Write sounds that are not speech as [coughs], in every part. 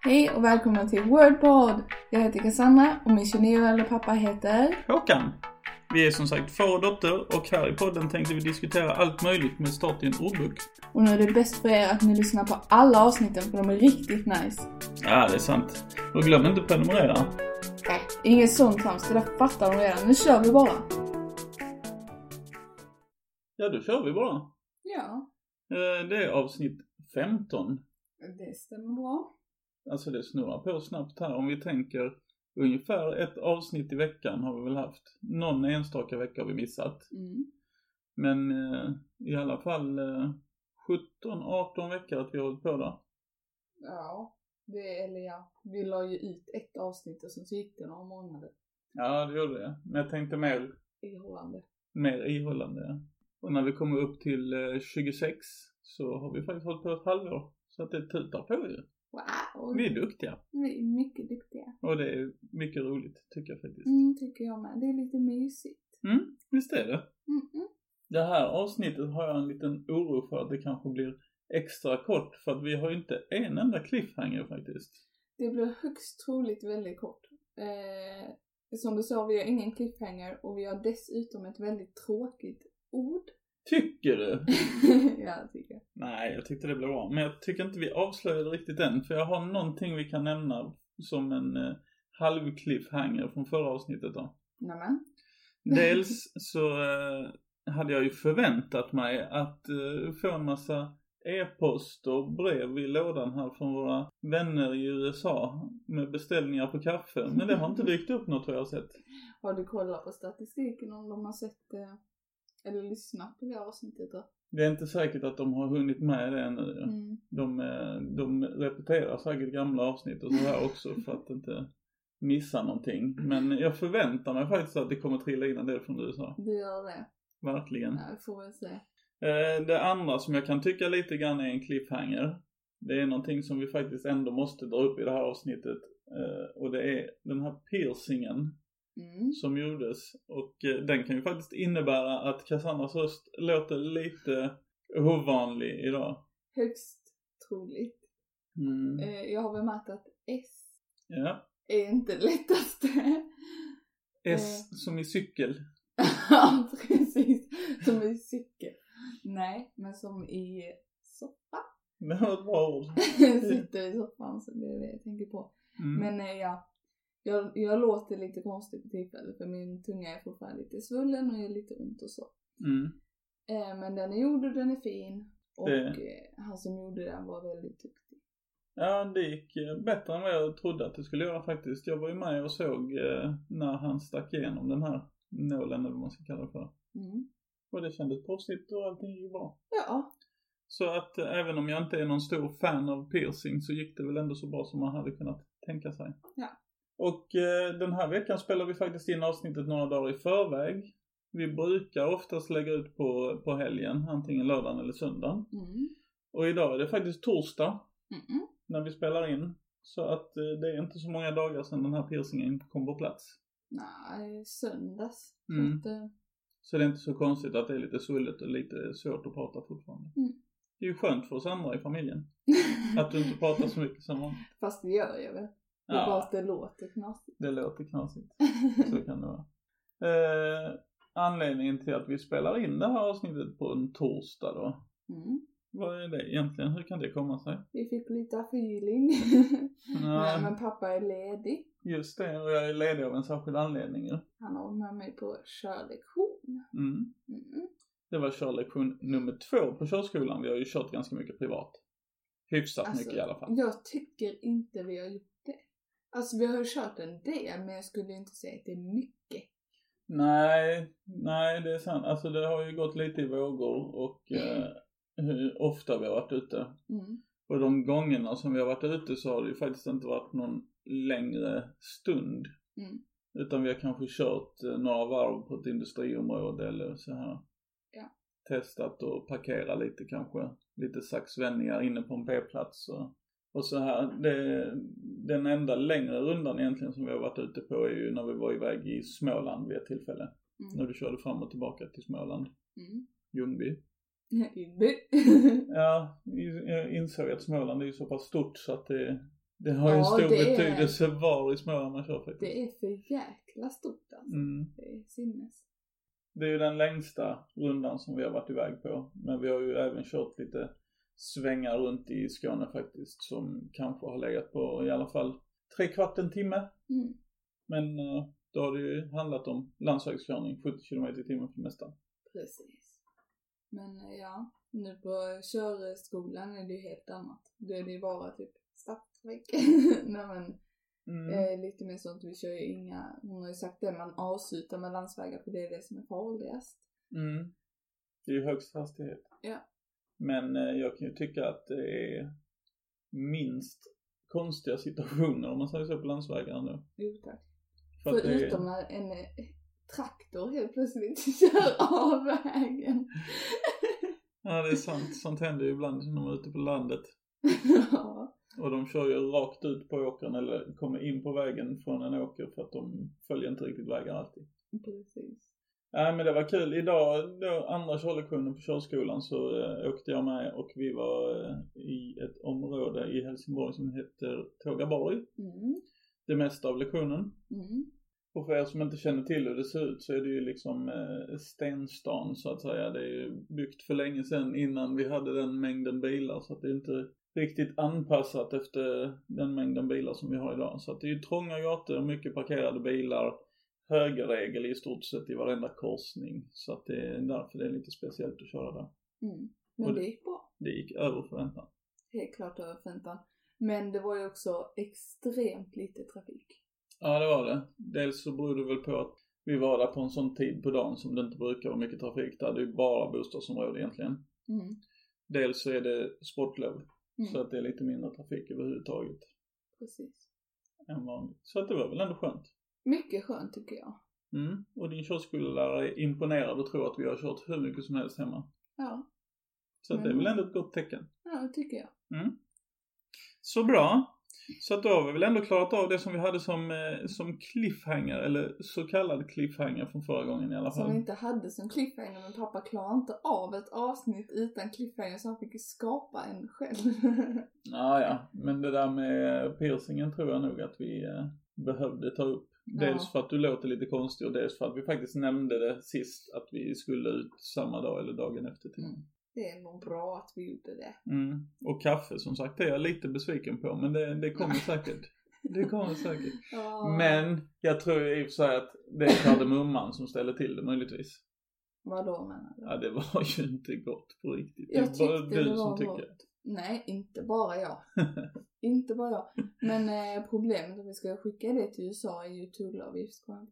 Hej och välkomna till Wordpod! Jag heter Cassandra och min 29 äldre pappa heter... Håkan! Vi är som sagt far och dotter och här i podden tänkte vi diskutera allt möjligt med start i en ordbok. Och nu är det bäst för er att ni lyssnar på alla avsnitten för de är riktigt nice. Ja, det är sant. Och glöm inte att prenumerera. Nej, inget sånt trams, det där fattar de redan. Nu kör vi bara! Ja, då kör vi bara. Ja, Eh, Det är avsnitt 15. det stämmer bra. Alltså det snurrar på snabbt här. Om vi tänker ungefär ett avsnitt i veckan har vi väl haft. Någon enstaka vecka har vi missat. Mm. Men eh, i alla fall eh, 17-18 veckor att vi har hållit på där. Ja, det, eller ja, vi la ju ut ett avsnitt och sen så gick det några månader Ja, det gjorde det. Men jag tänkte mer i Holland. mer ihållande. Och när vi kommer upp till eh, 26 så har vi faktiskt hållit på ett halvår. Så att det tutar på ju. Wow! Vi är duktiga. Vi är mycket duktiga. Och det är mycket roligt tycker jag faktiskt. Mm, tycker jag med. Det är lite mysigt. Mm, visst är det. Mm, mm. Det här avsnittet har jag en liten oro för att det kanske blir extra kort för att vi har ju inte en enda cliffhanger faktiskt. Det blir högst troligt väldigt kort. Eh, som du sa, vi har ingen cliffhanger och vi har dessutom ett väldigt tråkigt [laughs] ord. Tycker du? ja, tycker jag. Nej, jag tyckte det blev bra. Men jag tycker inte vi avslöjade riktigt än för jag har någonting vi kan nämna som en eh, halv cliffhanger från förra avsnittet då. Nämen. Dels så eh, hade jag ju förväntat mig att eh, få en massa e-post och brev i lådan här från våra vänner i USA med beställningar på kaffe. Men det har inte dykt upp något vad jag har sett. Har du kollat på statistiken om de har sett eh, eller lyssnat på det här avsnittet då? Det är inte säkert att de har hunnit med det ännu. Mm. De, eh, de repeterar säkert gamla avsnitt och så här också för att inte missa någonting. Men jag förväntar mig faktiskt att det kommer trilla in en del från USA. Du gör det? Verkligen. Ja, vi får väl se. Eh, Det andra som jag kan tycka lite grann är en cliffhanger. Det är någonting som vi faktiskt ändå måste dra upp i det här avsnittet. Eh, Och det är den här piercingen Mm. som gjordes. Och eh, den kan ju faktiskt innebära att Cassandras röst låter lite ovanlig idag. Högst troligt. Mm. Eh, jag har väl märkt att S Ja. är inte [laughs] det lättaste. eh. S som i cykel. [laughs] ja, precis. Som i cykel. Nej, men som i soppa. Det var ett bra [laughs] ord. sitter i soffan så det är det jag tänker på. Mm. Men eh, ja, jag, jag låter lite konstigt på tillfället för min tunga är fortfarande lite svullen och gör lite ont och så. Mm. Eh, men den är gjord och den är fin. Och Det- eh, han som gjorde den var väldigt duktig. Ja, det gick eh, bättre än vad jag trodde att det skulle göra faktiskt. Jag var ju med och såg eh, när han stack igenom den här nålen eller vad man ska kalla det för. Mm. Och det kändes proffsigt och allting gick bra. Ja, Så att eh, även om jag inte är någon stor fan av piercing så gick det väl ändå så bra som man hade kunnat tänka sig. Ja. Och eh, den här veckan spelar vi faktiskt in avsnittet några dagar i förväg. Vi brukar oftast lägga ut på, på helgen, antingen lördagen eller söndagen. mm. Och idag är det faktiskt torsdag Mm-mm. när vi spelar in. Så att eh, det är inte så många dagar sedan den här piercingen kom på plats. Nej, söndags. Mm. Så att, eh, Så det är inte så konstigt att det är lite svullet och lite svårt att prata fortfarande. Mm. Det är ju skönt för oss andra i familjen. Att du inte pratar så mycket som vanligt. [laughs] Fast det gör jag väl. Det är bara Ja, att det låter knasigt. det låter knasigt. Så [laughs] kan det vara. Eh, anledningen till att vi spelar in det här avsnittet på en torsdag då. Mm. Vad är det egentligen? Hur kan det komma sig? Vi fick lite feeling. [laughs] Nej, men pappa är ledig. Just det, och jag är ledig av en särskild anledning ju. Han har varit med mig på körlektion. Mm. Mm. Det var körlektion nummer två på körskolan. Vi har ju kört ganska mycket privat. Hyfsat Alltså, mycket i alla fall. Jag tycker inte vi har gjort det. Alltså vi har ju kört en del men jag skulle inte säga att det är mycket. Nej, nej det är sant. Alltså det har ju gått lite i vågor och eh, hur ofta vi har varit ute. Mm. Och de gångerna som vi har varit ute så har det ju faktiskt inte varit någon längre stund. Mm. Utan vi har kanske kört eh, några varv på ett industriområde eller så här. Ja. Testat och parkera lite kanske. Lite saxvändningar inne på en B-plats och, och så här. Det, den enda längre rundan egentligen som vi har varit ute på är ju när vi var iväg i Småland vid ett tillfälle. När Mm. du körde fram och tillbaka till Småland. Mm. Ljungby. [laughs] Ljungby. [laughs] Ja, jag insåg att Småland är ju så pass stort så att det, Det har ju Ja, stor det är- betydelse var i Småland man kör faktiskt. Det är för jäkla stort alltså. Mm. Det är sinnes. Det är ju den längsta rundan som vi har varit iväg på. Men vi har ju även kört lite svängar runt i Skåne faktiskt som kanske har legat på i alla fall tre kvart en timme. Mm. Men eh, då har det ju handlat om landsvägskörning 70 km i timmen för det mesta. Precis. Men eh, ja, nu på körskolan är det ju helt annat. Då är det ju bara typ stadstrafik. [laughs] Nej men, Mm. eh, lite mer sånt. Vi kör ju inga, hon har ju sagt det, man avslutar med landsvägar för det är det som är farligast. Mm. Det är ju högst hastighet. Ja. Men eh, jag kan ju tycka att det är minst konstiga situationer om man säger så på landsvägarna nu. Jo tack. För att det Förutom när en eh, traktor helt plötsligt [laughs] kör av [laughs] vägen. Ja, det är sant. Sånt händer ju ibland när man är ute på landet. ja, Och de kör ju rakt ut på åkern eller kommer in på vägen från en åker för att de följer inte riktigt vägen alltid. precis. Nej men det var kul. Idag, då andra körlektionen på körskolan så eh, åkte jag med och vi var eh, i ett område i Helsingborg som heter Tågaborg. Mm, Det mesta av lektionen. mm, Och för er som inte känner till hur det ser ut så är det ju liksom eh, stenstan så att säga. Det är ju byggt för länge sedan innan vi hade den mängden bilar så att det är inte riktigt anpassat efter den mängden bilar som vi har idag. Så att det är ju trånga gator, mycket parkerade bilar, högerregel i stort sett i varenda korsning. Så att det är därför det är lite speciellt att köra där. mm. Och Men det- det gick bra. Det gick över förväntan. Helt klart över förväntan. Men det var ju också extremt lite trafik. Ja det var det. Dels så beror det väl på att vi var där på en sån tid på dagen som det inte brukar vara mycket trafik där. Det är ju bara bostadsområde egentligen. Mm. Dels så är det sportlov, Mm. så att det är lite mindre trafik överhuvudtaget Precis. än vanligt. Så att det var väl ändå skönt. Mycket skönt tycker jag. Mm. Och din körskolelärare är imponerad och tror att vi har kört hur mycket som helst hemma. Ja, Så att det är Mm. väl ändå ett gott tecken. ja det tycker jag. Så bra! Så att då har vi väl ändå klarat av det som vi hade som, eh, som cliffhanger, eller så kallad cliffhanger från förra gången i alla Som vi fall. inte hade som cliffhanger men pappa klarade inte av ett avsnitt utan cliffhanger så han fick ju skapa en själv. [laughs] Ja, ja. Men det där med piercingen tror jag nog att vi eh, behövde ta upp. Dels Ja. för att du låter lite konstig och dels för att vi faktiskt nämnde det sist att vi skulle ut samma dag eller dagen efter till. Mm. det är nog bra att vi gjorde det. Mm. Och kaffe som sagt, det är jag lite besviken på men det, det [laughs] kommer säkert. Det kommer säkert. Ja. Men jag tror ju i och för sig att det är kardemumman som ställer till det möjligtvis. Vadå menar du? Ja, det var ju inte gott på riktigt. Jag det är bara tyckte det du var som gott. tycker. Nej, inte bara [laughs] jag. inte bara jag. Men eh, problemet om vi ska skicka det till USA är ju tullavgift. Man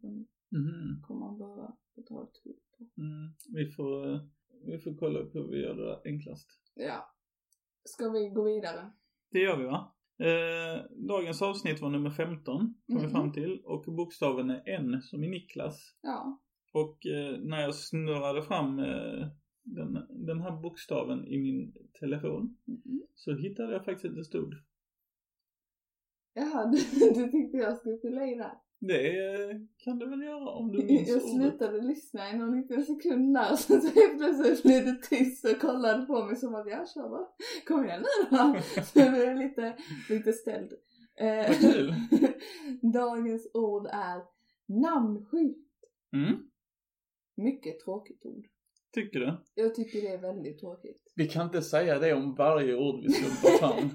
Mhm. kommer man behöva betala tull på. Mm. Vi, får, eh, vi får kolla upp hur vi gör det där enklast. Ja. Ska vi gå vidare? Det gör vi va? Eh, dagens avsnitt var nummer 15, kom vi Mm. fram till. Och bokstaven är N som i Niklas. Ja. Och eh, när jag snurrade fram eh, den, den här bokstaven i min telefon Mm. så hittade jag faktiskt att det stod. Jaha, [laughs] du, du tyckte jag skulle fylla i där. Det eh, kan du väl göra [laughs] om du minns Jag ordet. slutade lyssna i någon liten sekund där, så så helt plötsligt blev det tyst och kollade på mig som att jag kör då. Kom igen nu [laughs] då! Så jag blev lite, lite ställd. Eh, Vad kul! [laughs] Dagens ord är namnsky. Mm, Mycket tråkigt ord. tycker du? Jag tycker det är väldigt tråkigt. Vi kan inte säga det om varje ord vi slumpar [laughs] fram.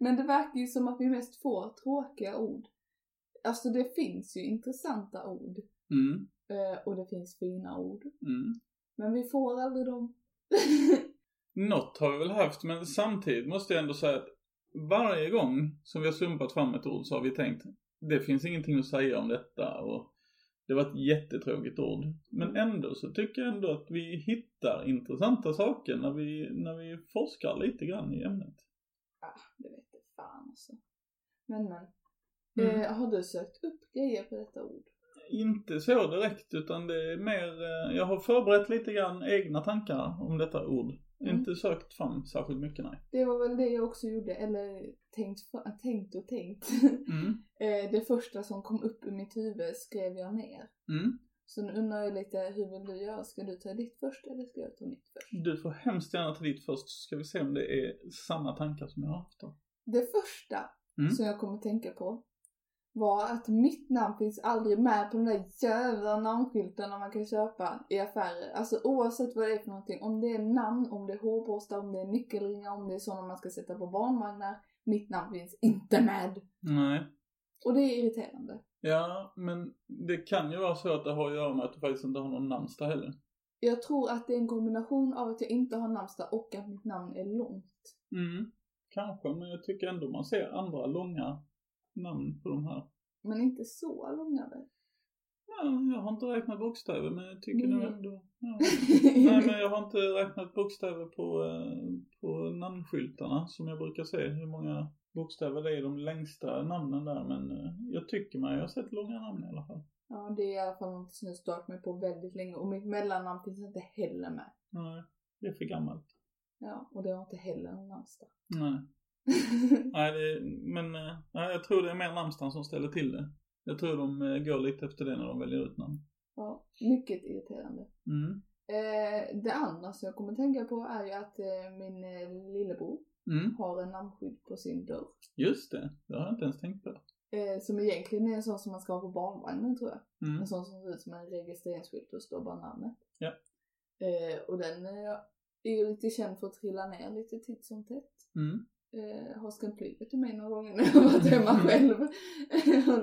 Men det verkar ju som att vi mest får tråkiga ord. Alltså det finns ju intressanta ord Mm, eh, och det finns fina ord. mm. Men vi får aldrig dem. [laughs] Något har vi väl haft, men samtidigt måste jag ändå säga att varje gång som vi har slumpat fram ett ord så har vi tänkt det finns ingenting att säga om detta och det var ett jättetråkigt ord. Men ändå så tycker jag ändå att vi hittar intressanta saker när vi, när vi forskar lite grann i ämnet. det vet jag fan alltså. Men men. Mm. Eh, har du sökt upp grejer på detta ord? Inte så direkt utan det är mer, eh, jag har förberett lite grann egna tankar om detta ord. Mm. Inte sökt fram särskilt mycket nej. Det var väl det jag också gjorde, eller tänkt, fa- tänkt och tänkt. [laughs] Mm. eh, det första som kom upp i mitt huvud skrev jag ner. Mm. Så nu undrar jag lite, hur vill du göra? Ska du ta ditt först eller ska jag ta mitt först? Du får hemskt gärna ta dit först så ska vi se om det är samma tankar som jag har haft då. Det första Mm. som jag kom att tänka på var att mitt namn finns aldrig med på de där jävla namnskyltarna man kan köpa i affärer. Alltså oavsett vad det är för någonting. Om det är namn, om det är hårborstar, om det är nyckelringar, om det är sådana man ska sätta på barnvagnar. Mitt namn finns inte med! Nej. Och det är irriterande. Ja, men det kan ju vara så att det har att göra med att du faktiskt inte har någon namnsdag heller. Jag tror att det är en kombination av att jag inte har namnsdag och att mitt namn är långt. Mm. Kanske, men jag tycker ändå man ser andra långa namn på de här. Men inte så långa väl? Ja, jag har inte räknat bokstäver, men jag tycker nog Mm. ändå... Ja. Nej, men jag har inte räknat bokstäver på, eh, på namnskyltarna som jag brukar se. Hur många bokstäver det är i de längsta namnen där, men eh, jag tycker mig jag har sett långa namn i alla fall. [laughs] Ja, det är i alla fall något som jag stört mig på väldigt länge och mitt mellannamn finns inte heller med. Nej, det är för gammalt. Ja, och det har inte heller någon namnsdag. Nej. Nej, det, men eh, nej, jag tror det är mer namnsdagen som ställer till det. Jag tror de eh, går lite efter det när de väljer ut namn. [laughs] ja, mycket irriterande. Mm. Eh, det andra som jag kommer tänka på är ju att eh, min eh, lillebror Mm. har en namnskylt på sin dörr. Just det, det har jag inte ens tänkt på. Eh, som egentligen är en sån som man ska ha på barnvagnen tror jag. Mm. En sån som ser ut som en registreringsskylt och står bara namnet. Ja. Eh, och den eh, är ju lite känd för att trilla ner lite titt som tätt. Mm. [laughs] Eh, har skrämt livet ur mig några gånger när jag varit hemma själv.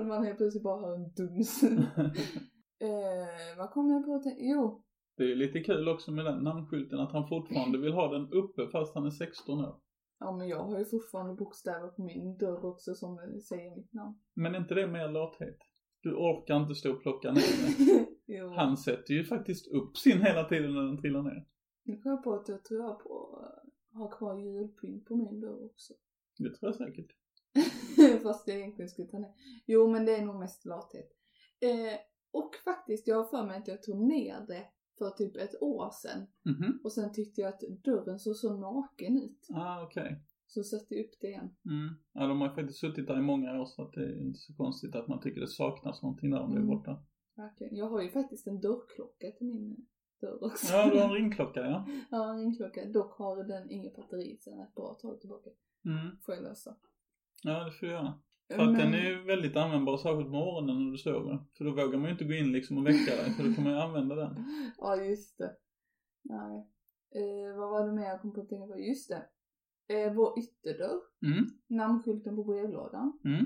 [laughs] och man helt plötsligt bara hör en duns. eh, vad kom jag på att tänka? Jo, Det är ju lite kul också med den namnskylten att han fortfarande vill ha den uppe fast han är 16 år. ja men jag har ju fortfarande bokstäver på min dörr också som eh, säger mitt [laughs] namn. Men är inte det mer lathet? Du orkar inte stå och plocka ner den. jo. Han sätter ju faktiskt upp sin hela tiden när den trillar ner. Nu kom jag på att jag tror jag på, har kvar julpynt på min dörr också. [laughs] Det tror jag säkert. Fast jag egentligen skulle ta ner. Jo, men det är nog mest lathet. Eh, och faktiskt, jag har för mig att jag tog ner det för typ ett år sedan. Mhm. Och sen tyckte jag att dörren såg så naken ut. Ah, okej. Så satte jag upp det igen. Mm. Ja, de har ju faktiskt suttit där i många år så att det är inte så konstigt att man tycker det saknas någonting där om det Mm. är borta. Verkligen. Jag har ju faktiskt en dörrklocka till min dörr också. Ja, du har en ringklocka ja. [laughs] ja, en klocka. Dock har den inget batteri sedan ett bra tag tillbaka. Mm. Får jag lösa. Ja, det får jag göra. För att den är ju väldigt användbar, särskilt på morgonen när du sover. För då vågar man ju inte gå in liksom och väcka dig, för då kan man ju använda den. Ja, just det. Nej. Eh, vad var det mer jag kom på att tänka på? Just det. Eh, vår ytterdörr. Mm. Namnskylten på brevlådan. Mm.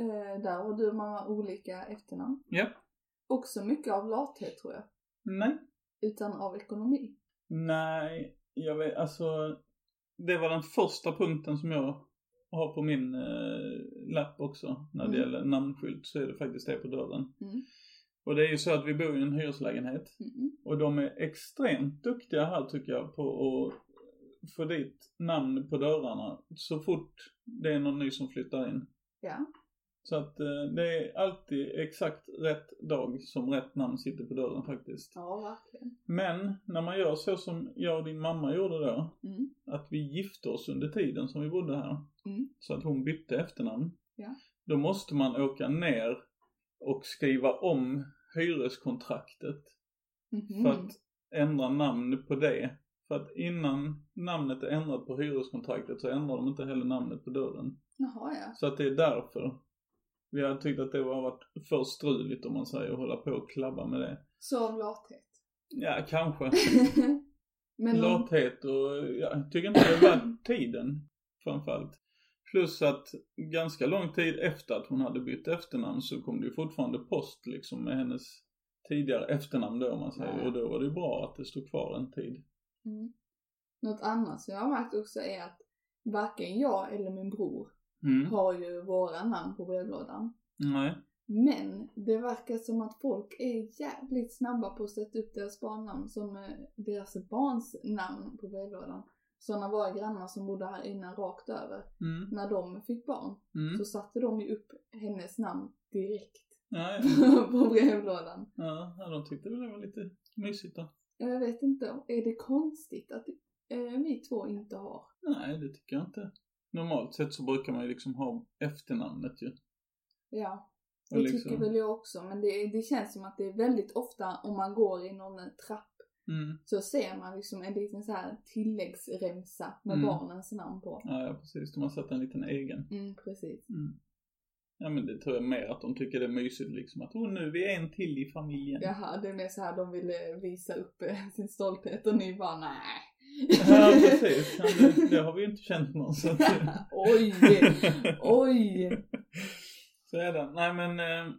Eh, där har du och mamma olika efternamn. Ja. Också mycket av lathet tror jag. Nej. Utan av ekonomi. Nej, jag vet, alltså. Det var den första punkten som jag har på min eh, lapp också. När det Mm. gäller namnskylt så är det faktiskt det på dörren. Mm. Och det är ju så att vi bor i en hyreslägenhet. Mm. Och de är extremt duktiga här tycker jag på att få dit namn på dörrarna så fort det är någon ny som flyttar in. Ja. Så att eh, det är alltid exakt rätt dag som rätt namn sitter på dörren faktiskt. Ja, verkligen. Men när man gör så som jag och din mamma gjorde då, Mm. att vi gifte oss under tiden som vi bodde här, Mm. så att hon bytte efternamn, Ja. då måste man åka ner och skriva om hyreskontraktet Mhm. för att ändra namn på det. För att innan namnet är ändrat på hyreskontraktet så ändrar de inte heller namnet på dörren. Jaha, ja. Så att det är därför vi har tyckt att det har varit för struligt om man säger att hålla på och klabba med det. Så av lathet. [laughs] Ja, kanske. Men om- Lathet och ja, jag tycker inte det var tiden framförallt. Plus att ganska lång tid efter att hon hade bytt efternamn så kom det ju fortfarande post liksom med hennes tidigare efternamn då om man säger. Ja. Och då var det ju bra att det stod kvar en tid. Mm. Något annat som jag har märkt också är att varken jag eller min bror Mm. har ju våra namn på brevlådan. Nej. Men det verkar som att folk är jävligt snabba på att sätta upp deras barnnamn som eh, deras barns namn på brevlådan. Sådana var grannar som bodde här innan rakt över. Mm. När de fick barn Mm. så satte de ju upp hennes namn direkt Ja, ja. [laughs] på brevlådan. ja, ja, de tyckte väl det var lite mysigt då. Jag vet inte, är det konstigt att eh, vi två inte har? Nej, det tycker jag inte. Normalt sett så brukar man ju liksom ha efternamnet ju. Ja, Och det liksom- tycker väl jag också. Men det, det känns som att det är väldigt ofta om man går i någon eh, trapp Mm. Så ser man liksom en liten så här tilläggsremsa med Mm. barnens namn på. Ja, ja, precis. De har satt en liten egen. Mm, precis. Mm. Ja, men det tror jag mer att de tycker det är mysigt liksom att åh nu vi är en till i familjen. Jaha, det är mer så här de ville visa upp eh, sin stolthet och ni bara nej. Ja, precis. Ja, det, det har vi ju inte känt någon så att, [laughs] oj! Oj! Så är det. Nej men eh,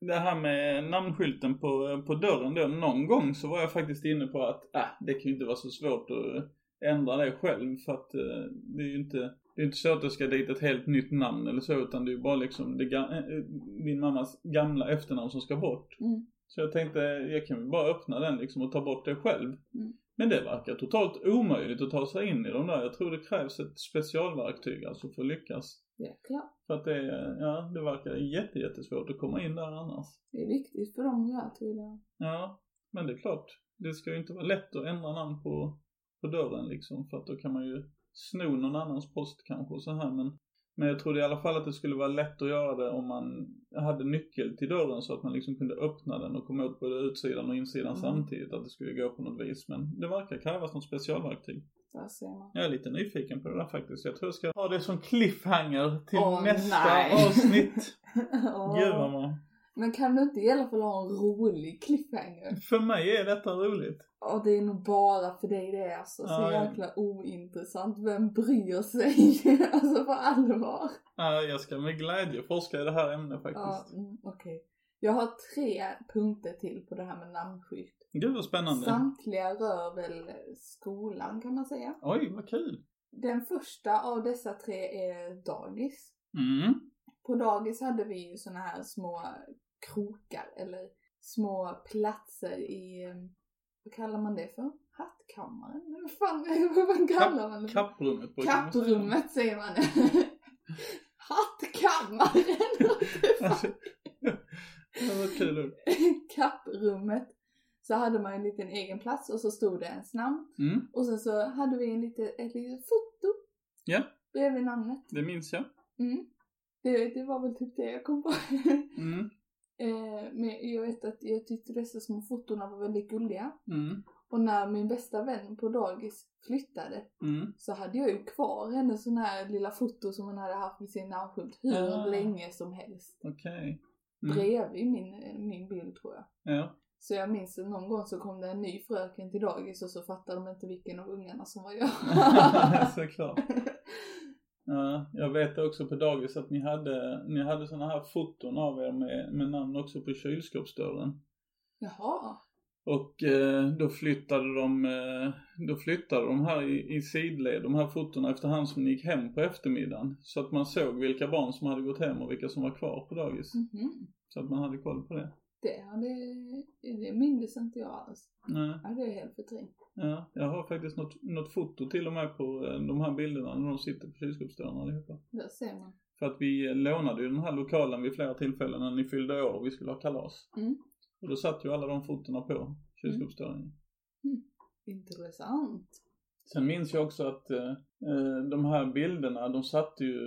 det här med namnskylten på, på dörren då. Någon gång så var jag faktiskt inne på att äh, det kan ju inte vara så svårt att ändra det själv för att eh, det är ju inte det är inte så att jag ska dit ett helt nytt namn eller så utan det är ju bara liksom det, ga- eh, eh, min mammas gamla efternamn som ska bort. Mm. Så jag tänkte jag kan väl bara öppna den liksom och ta bort det själv. Mm. Men det verkar totalt omöjligt att ta sig in i de där. Jag tror det krävs ett specialverktyg alltså för att lyckas. Jäklar. För att det, är- ja, det verkar jätte, jättesvårt att komma in där annars. Det är viktigt för dem det här tydligen. Ja, men det är klart. Det ska ju inte vara lätt att ändra namn på, på dörren liksom. För att då kan man ju sno någon annans post kanske och så här. Men, men jag trodde i alla fall att det skulle vara lätt att göra det om man hade nyckel till dörren så att man liksom kunde öppna den och komma åt både utsidan och insidan Mm. samtidigt. Att det skulle gå på något vis. Men det verkar krävas något specialverktyg. Där ser man. Jag är lite nyfiken på det där faktiskt. Jag tror jag ska ha det som cliffhanger till Åh, nästa nej. [laughs] avsnitt. Ja. [laughs] Gud vad man... Men kan du inte i alla fall ha en rolig cliffhanger? För mig är detta roligt. Ja, det är nog bara för dig det är alltså. Så Ja, ja. jäkla ointressant. Vem bryr sig? [laughs] alltså på allvar. Ja, Äh, jag ska med glädje forska i det här ämnet Ja, faktiskt. mm, okej. Jag har tre punkter till på det här med namnskydd. Gud vad spännande. Samtliga rör väl skolan kan man säga. Oj, vad kul. Den första av dessa tre är dagis. Mm. På dagis hade vi ju såna här små krokar eller små platser i, eh, vad kallar man det för? Hattkammaren? Vad fan, [laughs] vad kallar man det? för? Kapprummet. brukar man säga. [laughs] Kapprummet säger man. [laughs] Hattkammaren! Alltså, ja, vad kul. ord. [laughs] Kapprummet. Så hade man en liten egen plats och så stod det ens namn. Mm, Och sen så hade vi en lite, ett litet foto. Ja. Bredvid namnet. det minns jag. Mm. Det, det var väl typ det jag kom på. [laughs] Mm. Eh, men jag vet att jag tyckte dessa små fotona var väldigt gulliga. Mm. Och när min bästa vän på dagis flyttade Mm. så hade jag ju kvar hennes sån här lilla foto som hon hade haft med sin namnskylt hur Ah. länge som helst. Okej. Mm. Bredvid min, eh, min bild tror jag. Ja. [laughs] Så jag minns att någon gång så kom det en ny fröken till dagis och så fattade de inte vilken av ungarna som var [laughs] jag. Såklart. Ja, jag vet också på dagis att ni hade, ni hade sådana här foton av er med, med namn också på kylskåpsdörren. Jaha. Och eh, då flyttade de, eh, då flyttade de här i, i sidled, de här fotona efterhand som ni gick hem på eftermiddagen. Så att man såg vilka barn som hade gått hem och vilka som var kvar på dagis. Mhm. Så att man hade koll på det. Det, hade, det mindes inte jag alls. Nej, Ja, det är helt förträngt. ja, jag har faktiskt något, något foto till och med på eh, de här bilderna när de sitter på kylskåpsdörren allihopa. Där ser man. För att vi eh, lånade ju den här lokalen vid flera tillfällen när ni fyllde år och vi skulle ha kalas. Mm. Och då satt ju alla de fotona på kylskåpsdörren. Intressant. Sen minns jag också att eh, eh, de här bilderna, de satte ju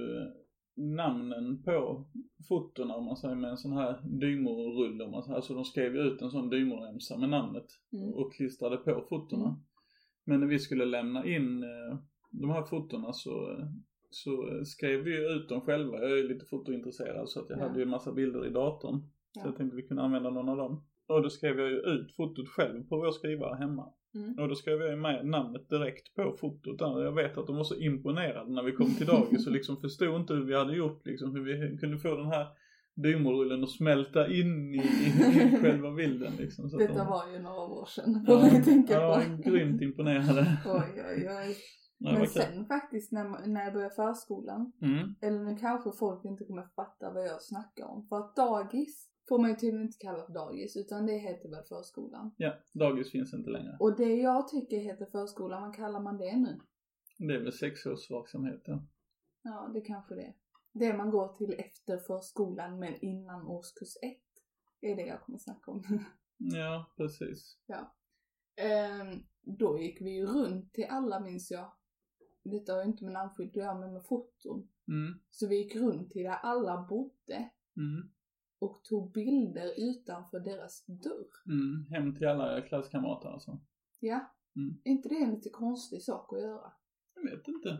namnen på fotona om man säger med en sån här dymorulle om man säger. Alltså de skrev ju ut en sån dymoremsa med namnet Mm. och klistrade på fotona. Mm. Men när vi skulle lämna in eh, de här fotona så, eh, så eh, skrev vi ju ut dem själva. Jag är ju lite fotointresserad så att jag Ja. hade ju en massa bilder i datorn. Ja. Så jag tänkte vi kunde använda någon av dem. Och då skrev jag ju ut fotot själv på vår skrivare hemma. Mm. Och då skrev jag ju med namnet direkt på fotot där. Jag vet att de var så imponerade när vi kom till dagis och liksom förstod inte hur vi hade gjort liksom. Hur vi kunde få den här dymorullen att smälta in [laughs] i, i själva bilden liksom. Så att Detta de, var ju några år sedan, får man ja, ju tänka ja, på. de var grymt imponerade. Oj, oj, oj. Ja, det var Men kul. sen faktiskt när, man- när jag började förskolan, Mm. eller nu kanske folk inte kommer fatta vad jag snackar om. För att dagis får man ju tydligen inte kalla för dagis, utan det heter väl förskolan. Ja, dagis finns inte längre. Och det jag tycker heter förskolan, vad kallar man det nu? Det är väl sexårsverksamhet ja. Ja, det kanske det är. Det man går till efter förskolan men innan årskurs ett är det jag kommer snacka om. Ja, precis. Ehm, då gick vi ju runt till alla minns jag. Detta har ju inte med namnskydd att göra men med foton. Mm. Så vi gick runt till där alla bodde Mm. och tog bilder utanför deras dörr. Mm. Hem till alla klasskamrater alltså. Ja. Mm. Är inte det en lite konstig sak att göra? Jag vet inte.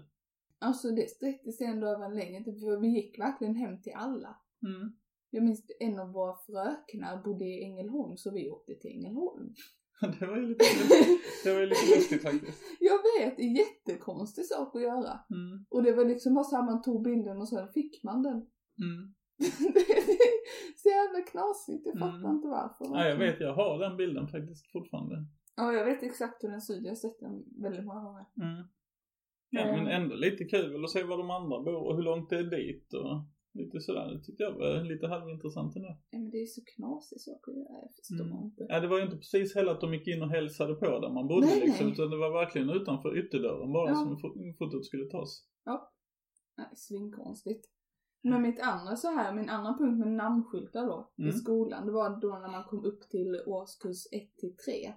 Alltså det sträckte sig ändå över en längre tid, för vi gick verkligen hem till alla. Mm. Jag minns en av våra fröknar bodde i Ängelholm, så vi åkte till [laughs] Ängelholm. Det var ju lite, det var ju lite lustigt faktiskt. Jag vet, en jättekonstig sak att göra. Mm. Och det var liksom bara såhär, man tog bilden och sen fick man den. [laughs] Mm. det är så jävla knasigt, jag fattar Mm. inte varför. Ja, jag vet, jag har den bilden faktiskt fortfarande. Ja, jag vet exakt hur den ser ut. Jag har sett den väldigt många gånger. Mm. Ja, Mm. men ändå lite kul att se var de andra bor och hur långt det är dit och lite sådär. Det tyckte jag var lite halvintressant ändå. Ja, men det är ju så knasig sak att göra, jag förstår Mm. inte. Ja, det var ju inte precis heller att de gick in och hälsade på där man bodde Nej, liksom, nej. utan det var verkligen utanför ytterdörren bara Ja. som fo- fotot skulle tas. Nej, svinkonstigt. Men mitt andra så här, min andra punkt med namnskyltar då, i Mm. skolan, det var då när man kom upp till årskurs 1 till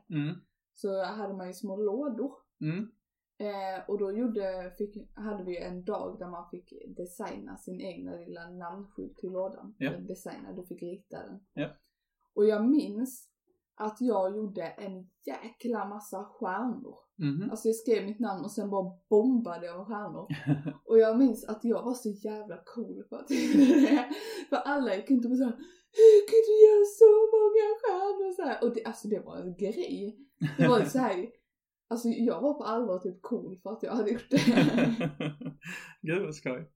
3. Mm. så hade man ju små lådor. Mm. Eh, och då gjorde, fick, hade vi en dag där man fick designa sin egna lilla namnskylt till lådan. Ja. Eller Designa, du fick rita den. Ja. Och jag minns att jag gjorde en jäkla massa stjärnor. Mhm. Alltså jag skrev mitt namn och sen bara bombade jag med stjärnor. Och jag minns att jag var så jävla cool för att För alla gick inte och såhär Hur kunde du göra så många stjärnor? Så här. Och det, alltså det var en grej. Det var ju såhär Alltså jag var på allvar typ cool för att jag hade gjort det. [laughs] Gud vad skoj.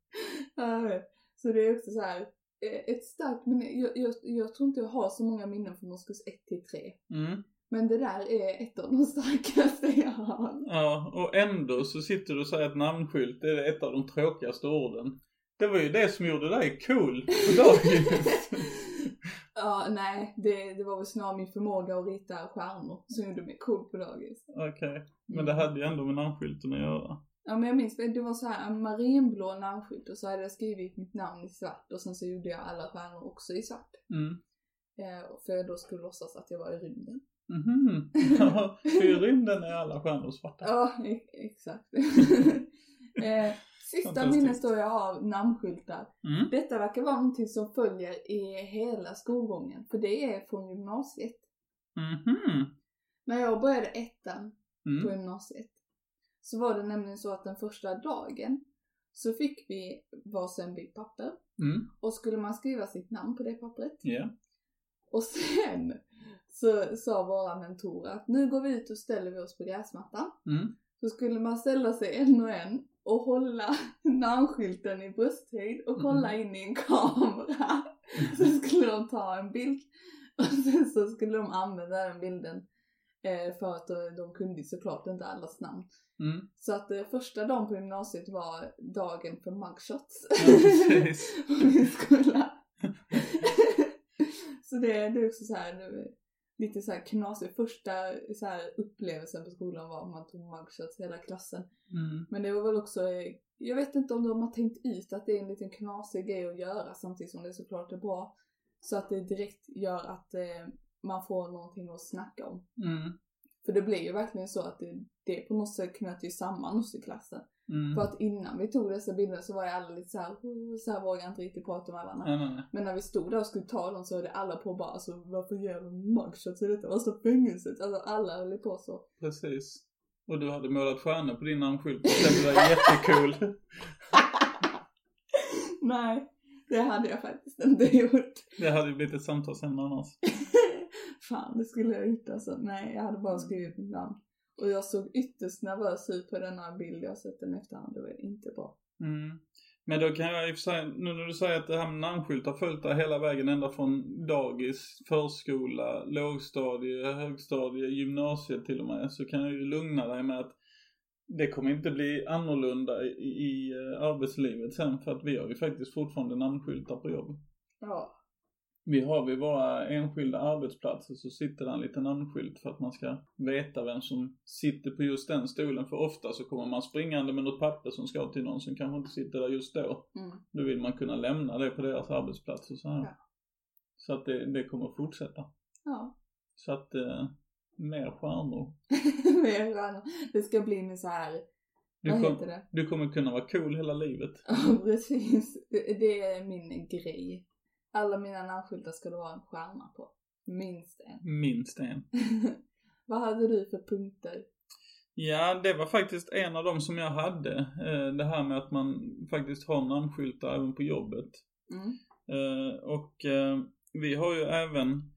Ja, så det är också så här eh, ett starkt minne. Jag, jag, jag tror inte jag har så många minnen från årskurs 1 till 3. Mm. Men det där är ett av de starkaste jag har. Ja, och ändå så sitter du och säger att namnskylt är ett av de tråkigaste orden. Det var ju det som gjorde dig cool på [laughs] dagis. [laughs] Ja, nej, det, det var väl snarare min förmåga att rita stjärnor som gjorde mig cool på dagis. Mm. Okej, men det hade ju ändå med namnskylten att göra. Ja, men jag minns, det var så här en marinblå namnskylt och så hade jag skrivit mitt namn i svart och sen så gjorde jag alla stjärnor också i svart. Mm. Eh, för jag då skulle låtsas att jag var i rymden. Mhm. [laughs] Ja, för i rymden är alla stjärnor svarta. Ja, e- exakt. [laughs] eh, sista Fantastiskt. minnet då jag har av namnskyltar. Mm. Detta verkar vara någonting som följer i hela skolgången, för det är från gymnasiet. Mhm. När jag började ettan på Mm. gymnasiet. Så var det nämligen så att den första dagen så fick vi varsin bit papper Mm. och skulle man skriva sitt namn på det pappret. Ja. Och sen så sa våra mentorer att nu går vi ut och ställer vi oss på gräsmattan. Mm. Så skulle man ställa sig en och en och hålla namnskylten i brösthöjd och kolla Mm. in i en kamera. Så skulle de ta en bild och sen så skulle de använda den bilden eh, för att de- de kunde ju såklart inte allas namn. Mm. Så att eh, första dagen på gymnasiet var dagen för mugshots Ja, precis. på min skola. [laughs] så det, det är också så här, det är lite så här knasigt. Första så här, upplevelsen på skolan var att man tog mugshots hela klassen. Mm. Men det var väl också, eh, jag vet inte om de har tänkt ut att det är en liten knasig grej att göra samtidigt som det såklart är bra. Så att det direkt gör att eh, man får någonting att snacka om. Mm. För det blev ju verkligen så att det, det på något sätt knöt ju samman oss i klassen. Mm. För att innan vi tog dessa bilder så var ju alla lite såhär, "Oh, så här vågar inte riktigt prata med varandra. Nej, nej, nej. Men när vi stod där och skulle ta dem så hörde alla på bara alltså varför gör de mugshots i detta? Alltså fängelset? Alltså alla höll ju på så. Precis. Och du hade målat stjärnor på din namnskylt och det var [laughs] jättecool. Nej, det hade jag faktiskt inte [laughs] gjort. Det hade ju blivit ett samtalsämne annars. Fan, det skulle jag gjort alltså. Nej, jag hade bara skrivit mitt namn. Och jag såg ytterst nervös ut på denna bild. Jag har sett den efterhand. Det var inte bra. Mm. Men då kan jag i och för sig, nu när du säger att det här med namnskylt har följt dig hela vägen ända från dagis, förskola, lågstadie, högstadie, gymnasiet till och med, så kan jag ju lugna dig med att det kommer inte bli annorlunda i, i eh, arbetslivet sen för att vi har ju faktiskt fortfarande namnskyltar på jobb. Ja. Vi har vid våra enskilda arbetsplatser så sitter det en liten namnskylt för att man ska veta vem som sitter på just den stolen. För ofta så kommer man springande med något papper som ska till någon som kanske inte sitter där just då. Mm. Då vill man kunna lämna det på deras arbetsplats och så här. Ja. Så att det, det kommer fortsätta. Ja. [laughs] Så att, eh, mer stjärnor. Men jag är skön. det ska bli min så här. Du, vad kom- heter det? [laughs] du kommer kunna vara cool hela livet. Ja, precis. Det det är min grej. Alla mina namnskyltar ska det vara en stjärna på. Minst en. Minst en. [laughs] Vad hade du för punkter? Ja, det var faktiskt en av dem som jag hade. Eh, Det här med att man faktiskt har namnskyltar även på jobbet. Mm. Eh, Och eh, vi har ju även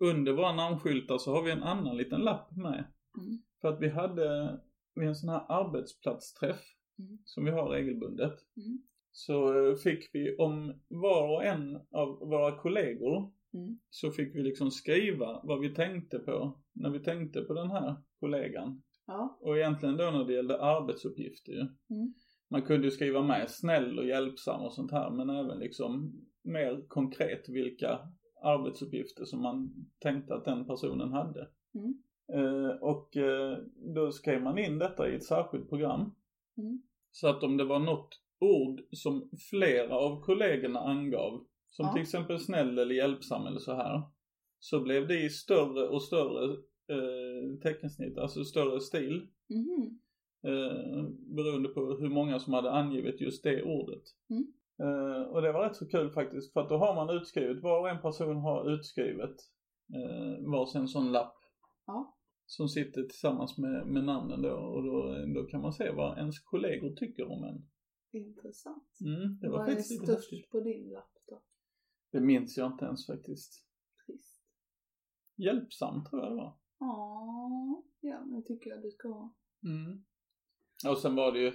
under våra namnskyltar så har vi en annan liten lapp med. Mm. För att vi hade, vid en sån här arbetsplatsträff Mm. som vi har regelbundet. Mm. Så eh, fick vi om var och en av våra kollegor Mm. så fick vi liksom skriva vad vi tänkte på när vi tänkte på den här kollegan. Ja. Och egentligen då när det gällde arbetsuppgifter ju. Mm. Man kunde ju skriva med snäll och hjälpsam och sånt här men även liksom mer konkret vilka arbetsuppgifter som man tänkte att den personen hade. Mm. Eh, och eh, då skrev man in detta i ett särskilt program. Mm. Så att om det var något ord som flera av kollegorna angav, som Ja. till exempel snäll eller hjälpsam eller så här, så blev det i större och större eh, teckensnitt, alltså större stil. Mhm. Eh, beroende på hur många som hade angivit just det ordet. Mm. Eh, och det var rätt så kul faktiskt för att då har man utskrivet, var och en person har utskrivet eh, varsin sån lapp. Ja. Som sitter tillsammans med, med namnen då och då, då kan man se vad ens kollegor tycker om en. Intressant. Mm, det var Vad är faktiskt lite häftigt. störst på din lapp då? Det minns jag inte ens faktiskt. Trist. Hjälpsam tror jag det var. Ja, ja men det tycker jag du ska ha. Mm. Och sen var det ju,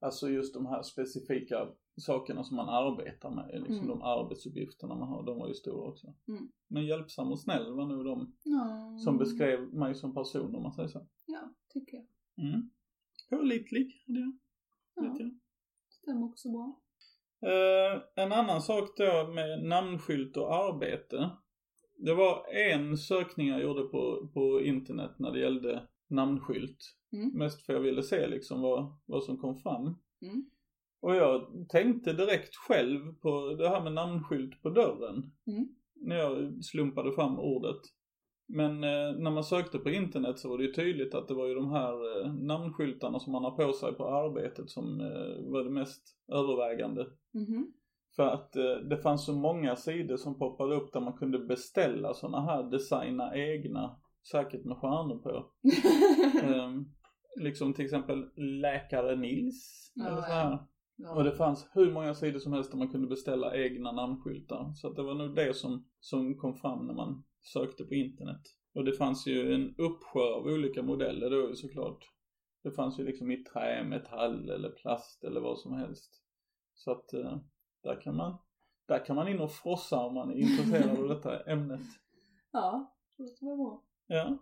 alltså just de här specifika sakerna som man arbetar med, liksom Mm. de arbetsuppgifterna man har, de var ju stora också. Mm. Men hjälpsam och snäll var nog de Ja. som beskrev mig som person om man säger så. Ja, tycker jag. Mm. Pålitlig hade jag, vet Ja, jag. stämmer också bra. Eh, en annan sak då med namnskylt och arbete. Det var en sökning jag gjorde på, på internet när det gällde namnskylt. Mm. Mest för jag ville se liksom vad, vad som kom fram. Mm. Och jag tänkte direkt själv på det här med namnskylt på dörren. Mm. När jag slumpade fram ordet. Men eh, när man sökte på internet så var det ju tydligt att det var ju de här eh, namnskyltarna som man har på sig på arbetet som eh, var det mest övervägande. [laughs] Mhm. För att eh, det fanns så många sidor som poppade upp där man kunde beställa såna här designa egna, säkert med stjärnor på. Mm. Ehm, liksom till exempel Läkare Nils Ja, eller ja. så här. ja. Och det fanns hur många sidor som helst där man kunde beställa egna namnskyltar. Så att det var nog det som, som kom fram när man sökte på internet. Och det fanns ju en uppsjö av olika modeller då såklart. Det fanns ju liksom i trä, metall eller plast eller vad som helst. Så att eh, där kan man, där kan man in och frossa om man är intresserad av detta ämnet. ja, det låter väl bra. Ja.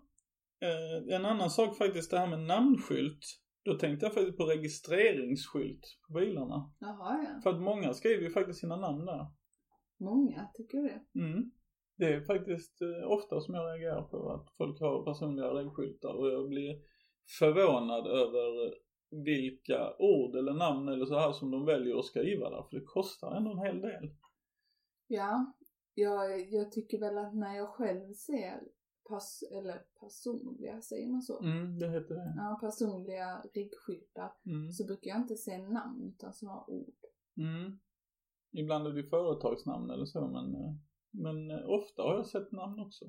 Eh, en annan sak faktiskt, det här med namnskylt. Då tänkte jag faktiskt på registreringsskylt på bilarna. Jaha, ja. För att många skriver ju faktiskt sina namn där. Många tycker det. Mm. Det är faktiskt eh, ofta som jag reagerar på att folk har personliga regskyltar och jag blir förvånad över vilka ord eller namn eller så här som de väljer att skriva där. För det kostar ändå en hel del. Ja, jag, jag tycker väl att när jag själv ser pass, eller personliga, säger man så? Mm, det heter det. Ja, personliga riggskyltar Mm. så brukar jag inte se namn utan sådana ord. Mm. Ibland är det ju företagsnamn eller så men, eh, men eh, ofta har jag sett namn också.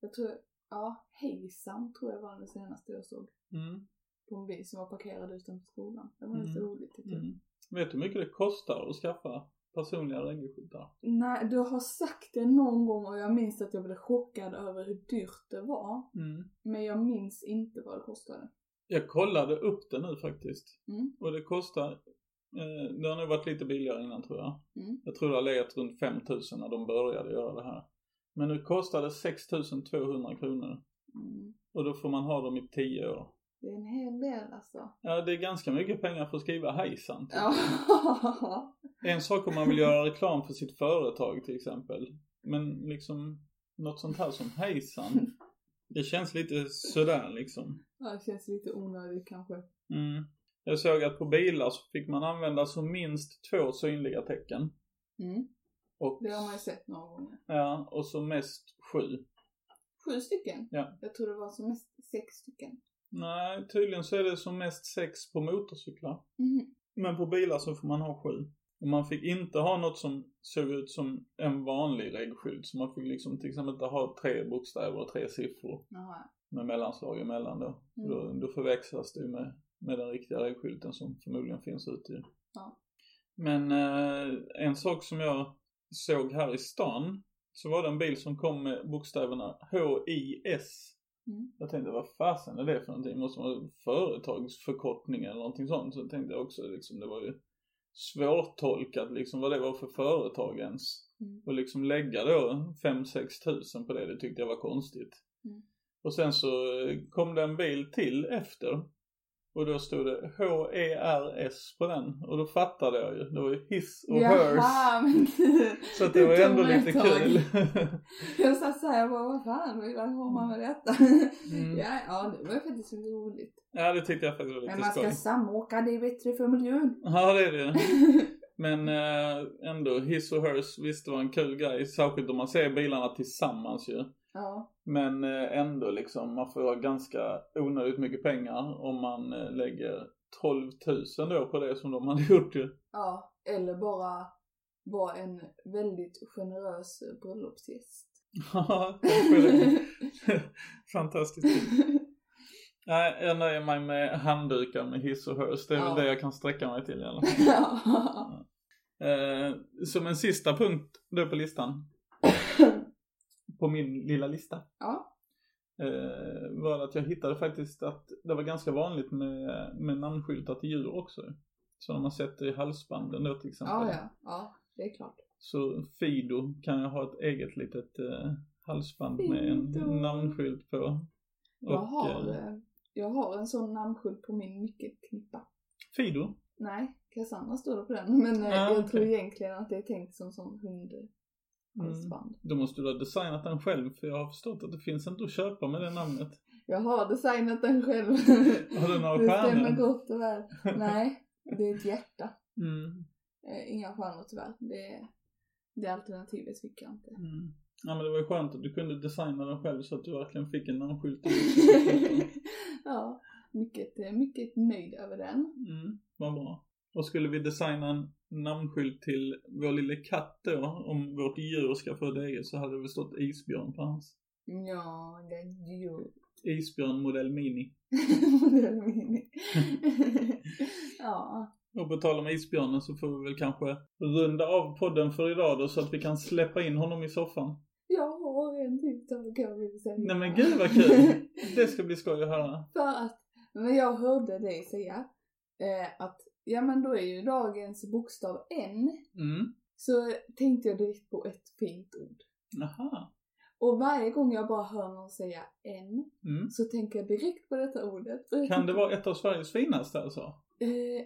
Jag tror, ja, Hejsan tror jag var det senaste jag såg Mm. på en bil som var parkerad utanför skolan. Det var lite Mm. roligt tycker jag. Mm. Vet du hur mycket det kostar att skaffa personliga regelskyltar? Nej, du har sagt det någon gång och jag minns att jag blev chockad över hur dyrt det var. Mm. Men jag minns inte vad det kostade. Jag kollade upp det nu faktiskt. Mm. Och det kostar, eh, det har nog varit lite billigare innan tror jag. Mm. Jag tror det har legat runt 5000 när de började göra det här. Men nu kostar det 6200 kronor. Mm. Och då får man ha dem i 10 år. Det är en hel del alltså. Ja, det är ganska mycket pengar för att skriva hejsan. typ. Ja. En sak om man vill göra reklam för sitt företag till exempel. Men liksom, något sånt här som [laughs] hejsan. Det känns lite sådär liksom. [laughs] ja, det känns lite onödigt kanske. Mm. Jag såg att på bilar så fick man använda som minst två synliga tecken. Mm. Och, Det har man ju sett några gånger. ja, och så mest sju. Sju stycken? Ja. Jag tror det var som mest sex stycken. Nej, tydligen så är det som mest sex på motorcyklar. Mhm. Men på bilar så får man ha sju. Och man fick inte ha något som såg ut som en vanlig regskylt. Så man fick liksom till exempel inte ha tre bokstäver och tre siffror. Jaha, med mellanslag emellan då. Mm. Då, då förväxlas det ju med, med den riktiga vägskylten som förmodligen finns ute i. Ja. Men eh, en sak som jag såg här i stan så var det en bil som kom med bokstäverna HIS. Mm. Jag tänkte vad fasen är det för någonting? Måste vara en företagsförkortning eller någonting sånt. Så tänkte jag också liksom det var ju svårtolkat liksom vad det var för företag ens. Mm. Och liksom lägga då 5-6 tusen på det, det tyckte jag var konstigt. Mm. Och sen så eh, kom det en bil till efter. Och då stod det H-E-R-S på den. Och då fattade jag ju. Det var ju his och hers. Jaha, men gud. Så att det var Det ändå tog mig lite ett tag. [laughs] kul. Jag satt såhär, jag bara, vad fan, vad illa har man med detta? mm. Ja, ja, det var ju faktiskt roligt. Ja, det tyckte jag faktiskt var Men lite man ska skoj. samåka, det är bättre för [laughs] miljön. Ja, det är det. Men eh, ändå, his och hers, visst det var en kul grej. Särskilt om man ser bilarna tillsammans ju. ja, Men eh, ändå liksom, man får ganska onödigt mycket pengar om man eh, lägger 12 000 då på det som de hade [laughs] gjort ju. ja. Eller bara vara en väldigt generös bröllopsgäst. Ja, kanske det. Fantastiskt. Nej, jag nöjer mig med handdukar med hiss och hörs. Det är Ja. väl det jag kan sträcka mig till i alla [laughs] fall. ja. Eh, som en sista punkt då på [coughs] listan. på min lilla lista. Ja. Eh, var att jag hittade faktiskt att det var ganska vanligt med, med namnskyltar till djur också. Så de har sett det i halsbanden då till exempel. ja, ja, ja, det är klart. Så Fido kan jag ha ett eget litet eh, halsband med Fido. en namnskylt på. Jag Och, har, eh, eh, jag har en sån namnskylt på min nyckelknippa. Fido? Nej, Cassandra står det på den. Men eh, Ja, jag okej. Mm. tror egentligen att det är tänkt som sån hundhalsband. Då måste du ha designat den själv för jag har förstått att det finns inte att köpa med det namnet. Jag har designat den [laughs] själv. Har du några det stämmer stjärnor? gott och väl. [laughs] Nej, det är ett hjärta. Mm. Eh, inga stjärnor tyvärr. Det, det alternativet fick jag inte. [laughs] Mm. Ja men det var ju skönt att du kunde designa den själv så att du verkligen fick en namnskylt. ja, mycket, eh, mycket nöjd över den. Mm, vad bra. Och skulle vi designa en namnskylt till vår lille katt då, om vårt djur ska få ett eget så hade det väl stått isbjörn på hans. Ja, det är [laughs] ju Isbjörn modell mini. modell [laughs] mini. [laughs] ja, Och på tal om isbjörnen så får vi väl kanske runda av podden för idag då så att vi kan släppa in honom i soffan. jag har en till sak jag vill säga. Nej men gud [laughs] vad kul! Det ska bli skoj att höra. För att, men jag hörde dig säga eh, att, ja men då är ju dagens bokstav N. Mm. Så tänkte jag direkt på ett fint ord. Aha. Och varje gång jag bara hör någon säga N Mm. så tänker jag direkt på detta ordet. Kan det vara ett av Sveriges finaste alltså? Eh,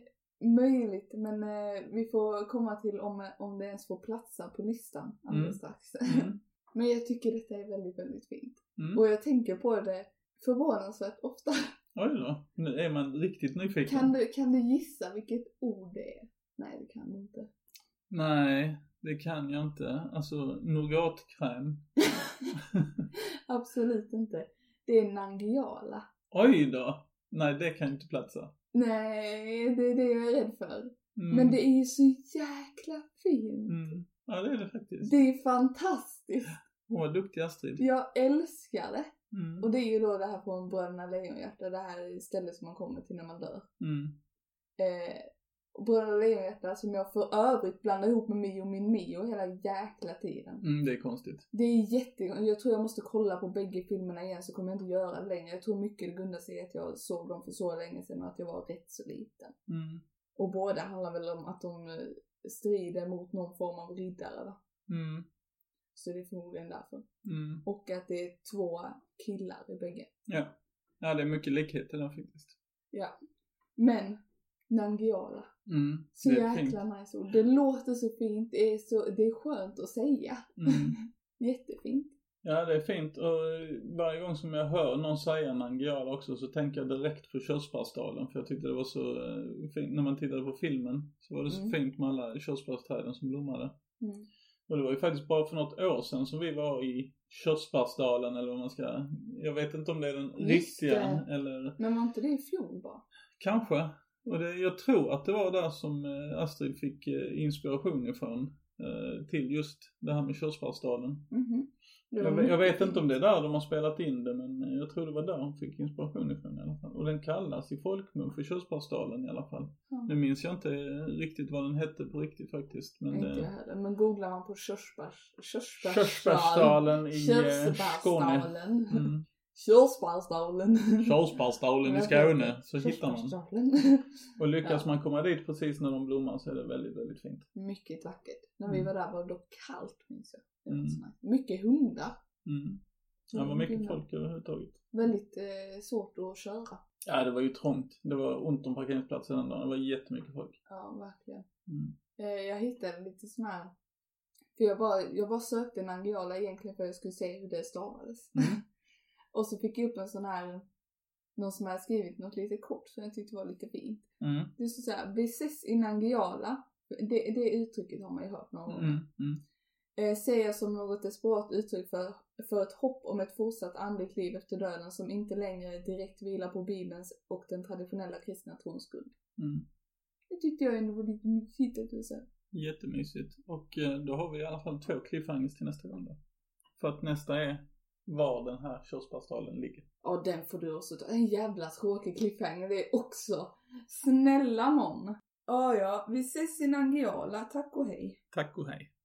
möjligt, men eh, vi får komma till om, om det ens får platsa på listan alldeles Mm. strax. [laughs] Mm. Men jag tycker detta är väldigt, väldigt fint. Mm. Och jag tänker på det förvånansvärt [laughs] ofta. Oj då, nu är man riktigt nyfiken. Kan du, kan du gissa vilket ord det är? Nej, det kan du inte. Nej, det kan jag inte. Alltså, nougatkräm. Absolut inte. Det är Nangijala. Oj då! Nej, det kan ju inte platsa. Nej, det är det jag är rädd för. Mm. Men det är ju så jäkla fint. Mm. Ja, det är det faktiskt. Det är fantastiskt. Hon var duktig, Astrid. Jag älskar det. Mm. Och det är ju då det här från Bröderna Lejonhjärta, det här stället som man kommer till när man dör. Mm. Eh, och Bröderna Lejonhjärta som jag för övrigt blandar ihop med Mio min Mio hela jäkla tiden. Mm, det är konstigt. Det är jättekonstigt. Jag tror jag måste kolla på bägge filmerna igen så kommer jag inte göra det längre. Jag tror mycket det grundar sig i att jag såg dem för så länge sedan och att jag var rätt så liten. Mm. Och båda handlar väl om att de eh, strider mot någon form av riddare va? Mm. Så det är förmodligen därför. Mm. Och att det är två killar i bägge. Ja. ja, det är mycket likheter där faktiskt. Men Nangijala. Mm. Så det är fint. jäkla nice ord. Det låter så fint. Det är, så, det är skönt att säga. Mm. Jättefint. Ja, det är fint. Och eh, varje gång som jag hör någon säga Nangijala också så tänker jag direkt på körsbärsdalen. För jag tyckte det var så eh, fint. När man tittade på filmen så var det så Mm. fint med alla körsbärsträden som blommade. Mm. Och det var ju faktiskt bara för något år sedan som vi var i Körsbärsdalen eller vad man ska... Jag vet inte om det är den Just riktiga det. eller Men var inte det i fjol bara? kanske. Och det, jag tror att det var där som eh, Astrid fick eh, inspiration ifrån. eh, till just det här med Körsbärsdalen. Mhm. Det var Jag, ve- jag vet mycket inte om fint. det är där de har spelat in det men jag tror det var där hon fick inspiration ifrån i alla fall. Och den kallas i folkmun för Körsbärsdalen i alla fall. Ja. Nu minns jag inte riktigt vad den hette på riktigt faktiskt. Men eh, Inte jag det, heller. Men googlar man på körsbärs... Körsbärsdal. Körsbärsdalen i eh, Skåne. Körsbärsdalen. Mm. Körsbärsdalen. Körsbärsdalen i Skåne så hittar man. Körsbärsdalen. Och lyckas Ja. man komma dit precis när de blommar så är det väldigt, väldigt fint. Mycket vackert. När vi Mm. var där var det dock kallt minns jag. Det var Mm. sån här- Mycket hundar. Mm. Det var mycket folk överhuvudtaget. Väldigt eh, svårt att köra. Ja, det var ju trångt. Det var ont om parkeringsplatser den dagen. Det var jättemycket folk. Ja, verkligen. Mm. Eh, jag hittade lite sån här... För jag bara, jag bara sökte Nangijala egentligen för att jag skulle se hur det stavades. Mm. och så fick jag upp en sån här... Någon som hade skrivit något lite kort som jag tyckte var lite fint. Mm. Det stod såhär, vi ses i Nangijala. Det, det uttrycket har man ju hört någon gång. Mm. Mm. eh, ser jag som något desperat uttryck för, för ett hopp om ett fortsatt andligt liv efter döden som inte längre direkt vilar på Bibelns och den traditionella kristna trons grund. Mm. Det tyckte jag ändå var lite mysigt att du sa. Jättemysigt. Och eh, då har vi i alla fall två cliffhangers till nästa gång då. För att nästa är var den här körsbärsdalen ligger. Ja, den får du också ta. En jävla tråkig cliffhanger det är också. Snälla nån. Ja, ja, vi ses i Nangijala. Tack och hej. Tack och hej.